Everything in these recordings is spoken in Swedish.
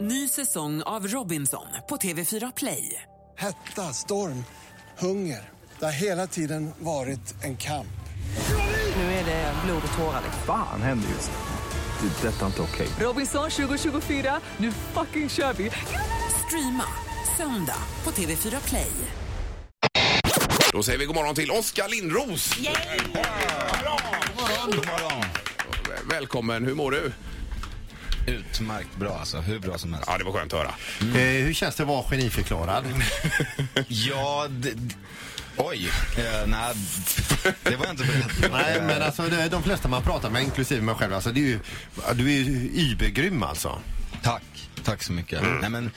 Ny säsong av Robinson på TV4 Play. Hetta, storm, hunger. Det har hela tiden varit en kamp. Nu är det blod och tårar. liksom. Fan händer just nu. Det. är Detta är inte okej. Robinson 2024, nu fucking kör vi! Streama söndag på TV4 Play. Då säger vi god morgon till Oskar Lindros. Väl- Välkommen, hur mår du? Utmärkt bra alltså, hur bra som helst. Ja, det var skönt att höra. Eh, hur känns det att vara geniförklarad? Ja, d- d- oj. Eh, nej, det var jag inte beredd på. Nej, men alltså det, de flesta man pratar med, inklusive mig själv, alltså det är ju, du är ju übergrym alltså. Tack, tack så mycket. Nej, men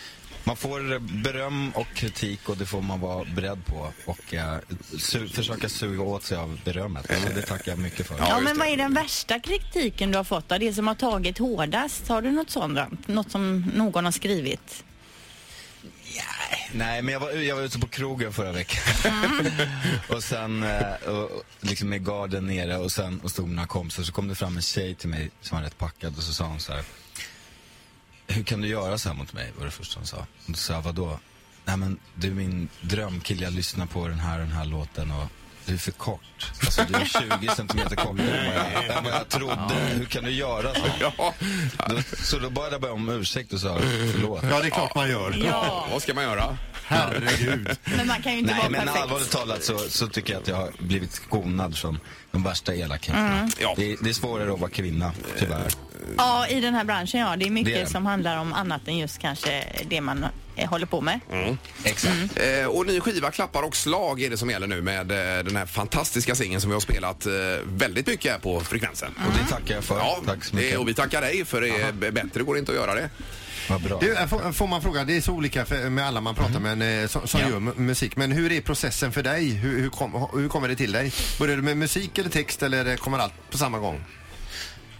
man får beröm och kritik och det får man vara beredd på och eh, su- försöka suga åt sig av berömmet. Och det tackar jag mycket för. Ja, Ja, just men det. vad är den värsta kritiken du har fått då? Det som har tagit hårdast? Har du något sådant? Något som någon har skrivit? Nej, men jag var, jag var ute på krogen förra veckan. och sen, eh, och, och liksom med garden nere och sen och stod mina kompisar. Så kom det fram en tjej till mig som var rätt packad och så sa hon så här. Hur kan du göra så här mot mig? Var det första hon sa. Och då sa jag, vadå? Nej men du är min drömkille, jag lyssnar på den här och den här låten och du är för kort. Alltså du är 20 centimeter kortare än vad jag, än vad jag trodde. Hur kan du göra så? Ja, Då, så då bad jag bara om ursäkt och sa förlåt. Ja, det är klart man gör. Ja, vad ska man göra? Herregud. men man kan ju inte Nej, vara men perfekt. allvarligt talat så, så tycker jag att jag har blivit skonad från de värsta elakheterna. Ja. Det, är- det är svårare att vara kvinna, tyvärr. Ja, i den här branschen ja. Det är mycket Det är det. som handlar om annat än just kanske det man eh, håller på med. Mm. Exakt. Eh, och ny skiva, Klappar och slag är det som gäller nu med eh, den här fantastiska singeln som vi har spelat eh, väldigt mycket här på frekvensen. Mm. Och det tackar jag för. Ja, Tack så det- mycket. och vi tackar dig för det är b- bättre går det inte att göra det. Vad bra. Du, eh, får, får man fråga, det är så olika för, eh, med alla man pratar med eh, som, som Ja. gör mu- musik, men hur är processen för dig? Hur, hur, kom, hur kommer det till dig? Börjar du med musik eller text eller eh, kommer allt på samma gång?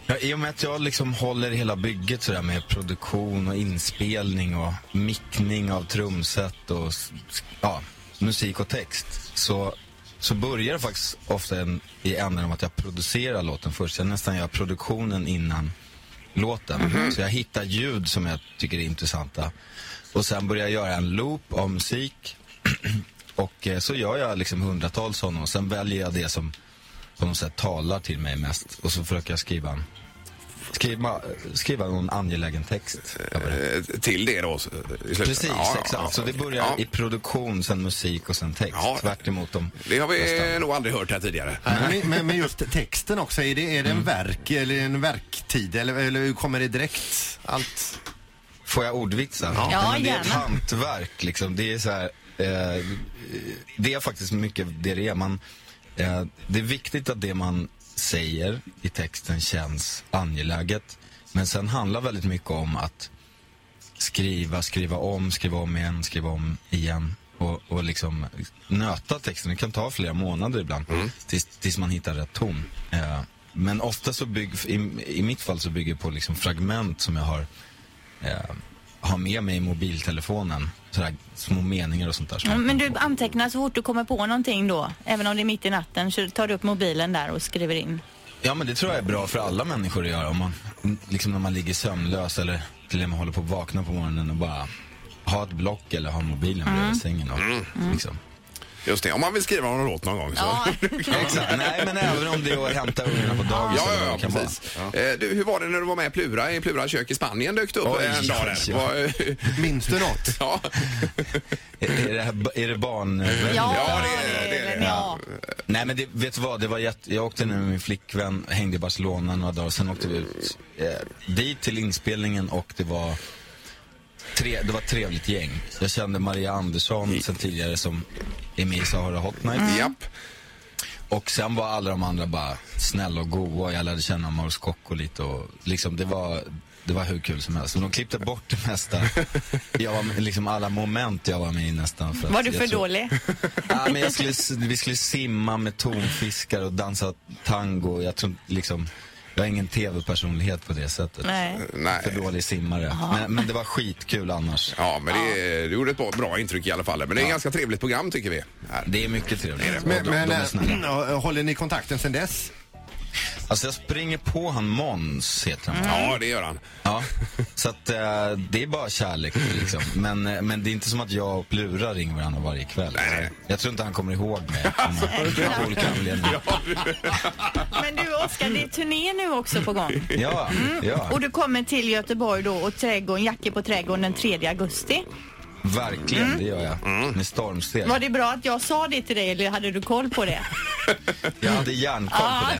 Ja, I och med att jag liksom håller hela bygget sådär med produktion och inspelning och mickning av trumset och s- s- ja, musik och text så, så börjar det faktiskt ofta en, i änden om att jag producerar låten först. Jag nästan gör produktionen innan låten. Mhm. Så jag hittar ljud som jag tycker är intressanta. Och sen börjar jag göra en loop av musik och eh, så gör jag liksom hundratals sådana och sen väljer jag det som på något sätt talar till mig mest och så försöker jag skriva en Skriva, skriva någon angelägen text. över det. Eh, till det då s- i slutet. Precis, Ja, ja, exakt. ja. så det börjar Ja, i produktion, sen musik och sen text. Ja. Tvärt emot dem. det har vi nästan. nog aldrig hört här tidigare. Men, men, men just texten också, är det, är det en verk eller en verktid eller, eller hur kommer det direkt? Allt? Får jag ordvitsa? Ja, men det är ett gärna. hantverk liksom. Det är så här, eh, det är faktiskt mycket det det är. Man, eh, det är viktigt att det man säger i texten känns angeläget. Men sen handlar väldigt mycket om att skriva, skriva om, skriva om igen, skriva om igen. Och, och liksom nöta texten. Det kan ta flera månader ibland tills, tills man hittar rätt ton. Eh, men ofta så bygger, i, i mitt fall så bygger det på liksom fragment som jag har eh, ha med mig i mobiltelefonen. Sådär små meningar och sånt där. som Mm, jag Men kommer du på. antecknar så fort du kommer på någonting då? Även om det är mitt i natten så tar du upp mobilen där och skriver in. Ja, men det tror jag är bra för alla människor att göra. Om man, liksom när man ligger sömnlös eller till och med håller på att vakna på morgonen och bara ha ett block eller ha mobilen Mm. bredvid sängen. Och, liksom. Just det, om man vill skriva någon låt någon gång så. Ja, Exakt. Nej, men även om det är att hämta ungarna på dagis Ja, eller ja, vad ja det kan vara. precis. Eh, Du, hur var det när du var med i Plura i Plura kök i Spanien dök du upp Oj, en dag där? oj, oj. Var- Minns du något? Ja, Är, är, det här, är det barn... ja, Ja, det- det, det- är det- det, ja. Nej men det, vet du vad, det var jätte... jag åkte nu med min flickvän, hängde i Barcelona några dagar, sen åkte vi ut eh, dit till inspelningen och det var, tre... det var ett trevligt gäng. Jag kände Maria Andersson sen tidigare som är med i Sahara Hot Night. Mm. japp. Och sen var alla de andra bara snälla och goa. Jag lärde känna Maurice Kocko lite och liksom det var, det var hur kul som helst. Men de klippte bort det mesta. Jag var med, liksom alla moment jag var med i nästan. För att Var du jag för tror- dålig? Ja, men jag skulle, s- vi skulle simma med tonfiskar och dansa tango. Jag tror inte- liksom, jag är ingen tv-personlighet på det sättet. Nej. Nej. För dålig simmare. Men, men det var skitkul annars. Ja, men det, du gjorde ett bra, bra intryck i alla fall. Men det är ett ganska trevligt program tycker vi. Här. Det är mycket trevligt. Och Men, de, men, de är snälla. äh, håller ni kontakten sen dess? Alltså jag springer på han Måns, heter han. Ja, det gör han. Ja, så att eh, det är bara kärlek liksom. Men, eh, men det är inte som att jag och Plura ringer varandra varje kväll. Nej. Alltså, Jag tror inte han kommer ihåg mig. Av olika anledningar. Men du Oskar, det är turné nu också på gång. Ja, ja, Och du kommer till Göteborg då och trädgården, Jacke på trädgården den 3 augusti. verkligen det gör jag. Mm. Med stormsteg. Var det bra att jag sa det till dig eller hade du koll på det? Jag hade järnkoll på det.